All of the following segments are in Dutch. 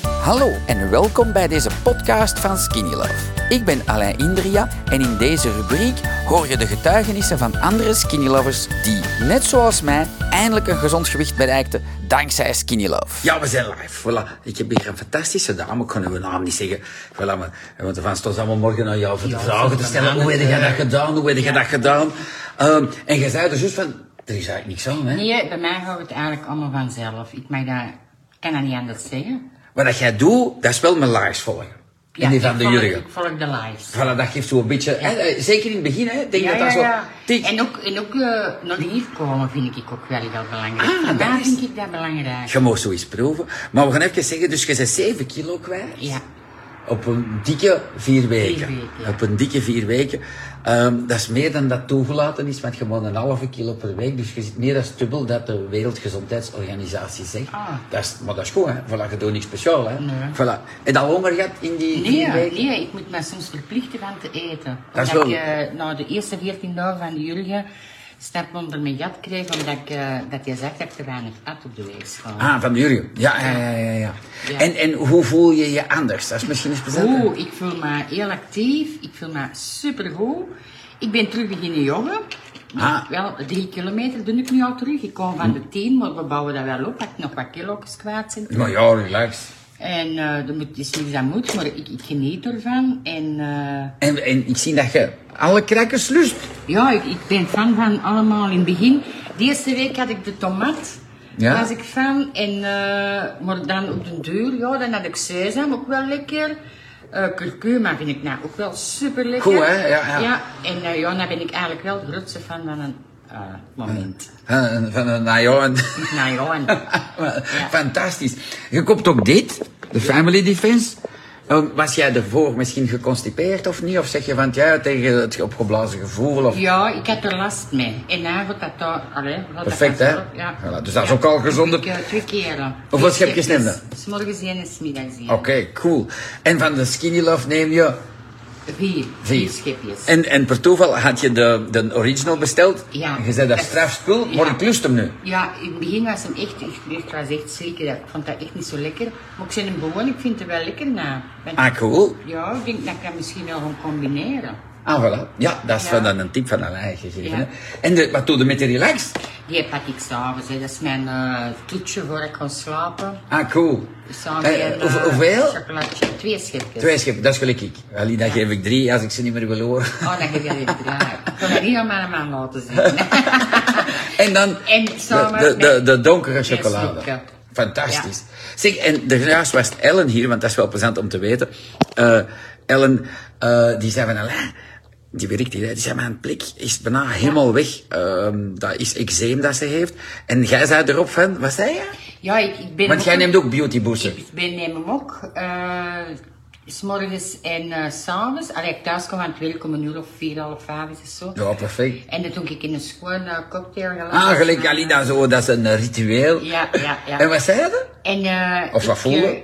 Hallo en welkom bij deze podcast van Skinny Love. Ik ben Alain Indria en in deze rubriek hoor je de getuigenissen van andere Skinny Lovers die, net zoals mij, eindelijk een gezond gewicht bereikten dankzij Skinny Love. Ja, we zijn live. Voilà. Ik heb hier een fantastische dame. Ik kan uw naam niet zeggen. Voilà, maar, want de fans stonden allemaal morgen aan jou voor de vragen te stellen. Hoe heb je dat gedaan? Hoe heb je dat gedaan? Ehm, en je zei dus juist van, er is eigenlijk niks aan, hè? Nee, bij mij gaat het eigenlijk allemaal vanzelf. Ik mag dat, kan dat niet anders zeggen. Wat dat jij doet, dat is wel mijn lives volgen. en die van ik de volg- Jurgen. Ik volg de lives. Voilà, dat geeft zo een beetje... hè, eh, zeker in het begin, hè? Denk dat dat zo... tik- En ook, en ook eh, naar de IF komen vind ik ook wel heel belangrijk. Ah, Vandaar dat is- vind ik dat belangrijk. Je mag zoiets proeven. Maar we gaan even zeggen, dus je bent 7 kilo kwijt. Ja. Op een dikke vier weken. Vier weken, ja. Op een dikke vier weken. Ehm, dat is meer dan dat toegelaten is, want je moet een halve kilo per week. Dus je zit meer dan dubbel dat de Wereldgezondheidsorganisatie zegt. Ah. Dat is, maar dat is goed, hè. Voilà, je doet niks speciaal, hè. Nee. Voilà. En dat honger gehad in die Nee, vier weken? nee, ik moet me soms verplichten van te eten. Dat is omdat wel- ik eh, na de eerste 14 dagen van de Jurgen stap onder mijn gat kreeg, omdat ik, eh, dat je zegt dat ik te weinig at op de weegschaal. Ah, van de Jurgen. Ja, ja, ja, ja. ja. Ja. En, en hoe voel je je anders? Dat is misschien eens bezet. Oeh, ik voel me heel actief. Ik voel me supergoed. Ik ben terug beginnen joggen. Ah. Wel, drie kilometer doe ik nu al terug. Ik kom van de tien, maar we bouwen dat wel op. Dat ik nog wat kilo's kwijt zijn. Maar ja, relax. En eh er moet, het is niks aan moet, maar ik, ik geniet ervan. En eh, En, en ik zie dat je alle crackers lust. ja, ik, ik ben fan van allemaal in het begin. De eerste week had ik de tomaat. Ja. Was ik fan. En, eh, maar dan op de duur, ja, dan had ik sesam, ook wel lekker. Eh curcuma vind ik nou ook wel super lekker. Goed, hè? Ja, ja. en eh, ja, dan ben ik eigenlijk wel de grootste fan van een eh, moment. Van, van een najoen. Nou ja, en, Fantastisch. Je koopt ook dit, de Family Defense. Ehm, was jij ervoor misschien geconstipeerd of niet? Of zeg je van ja, tegen het opgeblazen gevoel? Of... ja, ik heb er last mee. En dan wordt dat daar, allee, gaat dat Perfect, hè? vanzelf, Ja. Voilà, dus dat is ook al gezonder. Ik, eh, twee keren. Hoeveel Twee schepjes schepjes. neem Oh. S morgens één en 's middags één. Oké, cool. En van de Skinny Love neem je Vier. vier. Vier schepjes. En, en per toeval had je de, de original besteld. Ja. Je zei dat Dat- strafspul, maar ja. ik lust hem nu. Ja, in het begin was hem echt, ik was echt zeker, ik vond dat echt niet zo lekker. Maar ik ben hem gewoon, ik vind het wel lekker na. Want- Ah, cool. Ja, ik denk dat ik dat misschien wel gaan combineren. Ah, voilà. Ja, dat is Ja. van dan een tip van Alain gegeven. Ja. hè. En de, wat doe je met de relax? Die pak ik s'avonds, hè. dat is mijn eh toetje voor ik ga slapen. Ah, cool. S'avonds Eh, een, eh, hoe- hoeveel? chocolaatje, twee schepjes. Twee schepen, dat is gelijk ik. Allee, dan geef ik drie als ik ze niet meer wil horen. Oh, dan heb je weer draai. Ik kan dat niet aan mijn man laten zien. En dan En samen de, de, de, met- de donkere met chocolade. snoepje. Fantastisch. Zeg, en daarnaast was Ellen hier, want dat is wel plezant om te weten. Eh, Ellen, eh, die zei van Alain, die werkt hier, hè, die zei mijn blik is bijna helemaal weg. Ehm, dat is eczeem dat ze heeft. En jij zei erop van, wat zei je? ja, ik, ik ben Want jij ook- neemt ook beautybooster. Ik ben neem hem ook. eh, s S'morgens en eh, s s'avonds. Als ik thuis kom aan het werk om een uur of vier, half vijf is het zo. Ja, perfect. En dat doe ik in een schoon eh, cocktailglas. Ah, gelijk Alina, zo, dat is een eh, ritueel. Ja, ja, ja. En wat zei je? En, eh, Of wat ik, voelde? eh,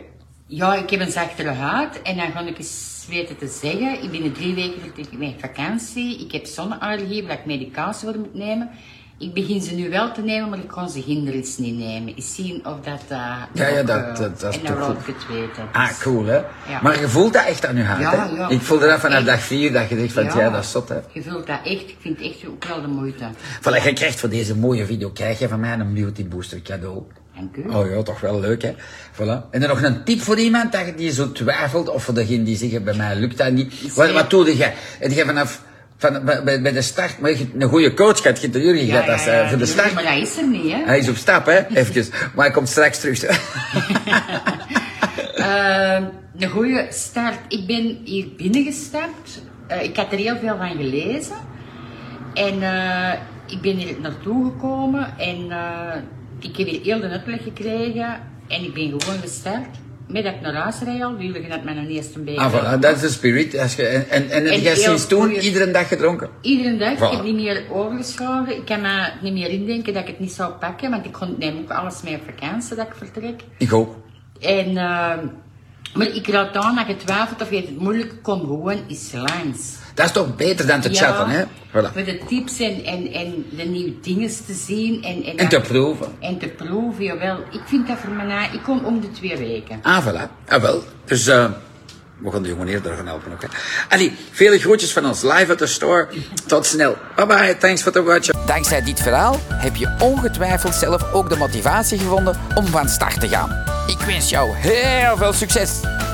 ja, ik heb een zachtere huid en dan ga ik eens weten te zeggen. Ik ben in drie weken vertrek ik mijn vakantie. Ik heb zonneallergie waar ik medicatie voor moet nemen. Ik begin ze nu wel te nemen, maar ik kan ze hindernis niet nemen. Eens zien of dat... eh, Ja, ja, ook, dat- eh, dat- dat is En dan toch laat ik goed. het weten. Ah, Dus- cool, hè? Ja. Maar je voelt dat echt aan je hart, Ja, hè? ja. Ik voelde dat vanaf Echt. dag 4, dat je dacht van, ja, dat is zot, hè? Je voelt dat echt. Ik vind het echt ook wel de moeite. Voilà, je krijgt voor deze mooie video, krijg je van mij een beauty booster cadeau. Dank u. Oh ja, toch wel leuk, hè? Voilà. En dan nog een tip voor iemand dat je die zo twijfelt, of voor degene die zeggen, bij mij lukt dat niet. Wat, ja. wat doe je? Heb je vanaf, van, bij, bij- bij de start, maar je hebt een goede coach gehad, je hebt de Jurgen gehad, dat is, eh, voor de nee, start. Maar dat is er niet, hè? Hij is op stap, hè? Eventjes. Maar hij komt straks terug. Eh, een goede start. Ik ben hier binnengestapt. Eh, ik had er heel veel van gelezen. En eh, ik ben hier naartoe gekomen en eh, ik heb hier heel de uitleg gekregen. En ik ben gewoon gestart. Met dat ik naar huis rijd al, jullie dat mijn eerste beetje. ah, voilà, dat is de spirit. Als je, en, en, en, En jij hebt heel sinds toen goeie- iedere dag gedronken? Iedere dag, Voilà. ik heb niet meer overgeslagen. Ik kan me niet meer indenken dat ik het niet zou pakken, want ik kon- neem ook alles mee op vakantie dat ik vertrek. Ik ook. En ehm, Maar ik raad aan dat je twijfelt of je het moeilijk kon gewoon eens langs. Dat is toch beter dan te chatten, hè? Voilà. Voor de tips en, en, en de nieuwe dingen te zien. En, en, En te proeven. En te proeven, jawel. Ik vind dat voor mij na. Ik kom om de twee weken. Ah, voilà. Ah, wel. Dus eh, we gaan de jongen eerder gaan helpen ook. Hè. Allee, vele groetjes van ons live uit de store. Tot snel. Bye bye. Thanks voor het watchen. Dankzij dit verhaal heb je ongetwijfeld zelf ook de motivatie gevonden om van start te gaan. Ik wens jou heel veel succes!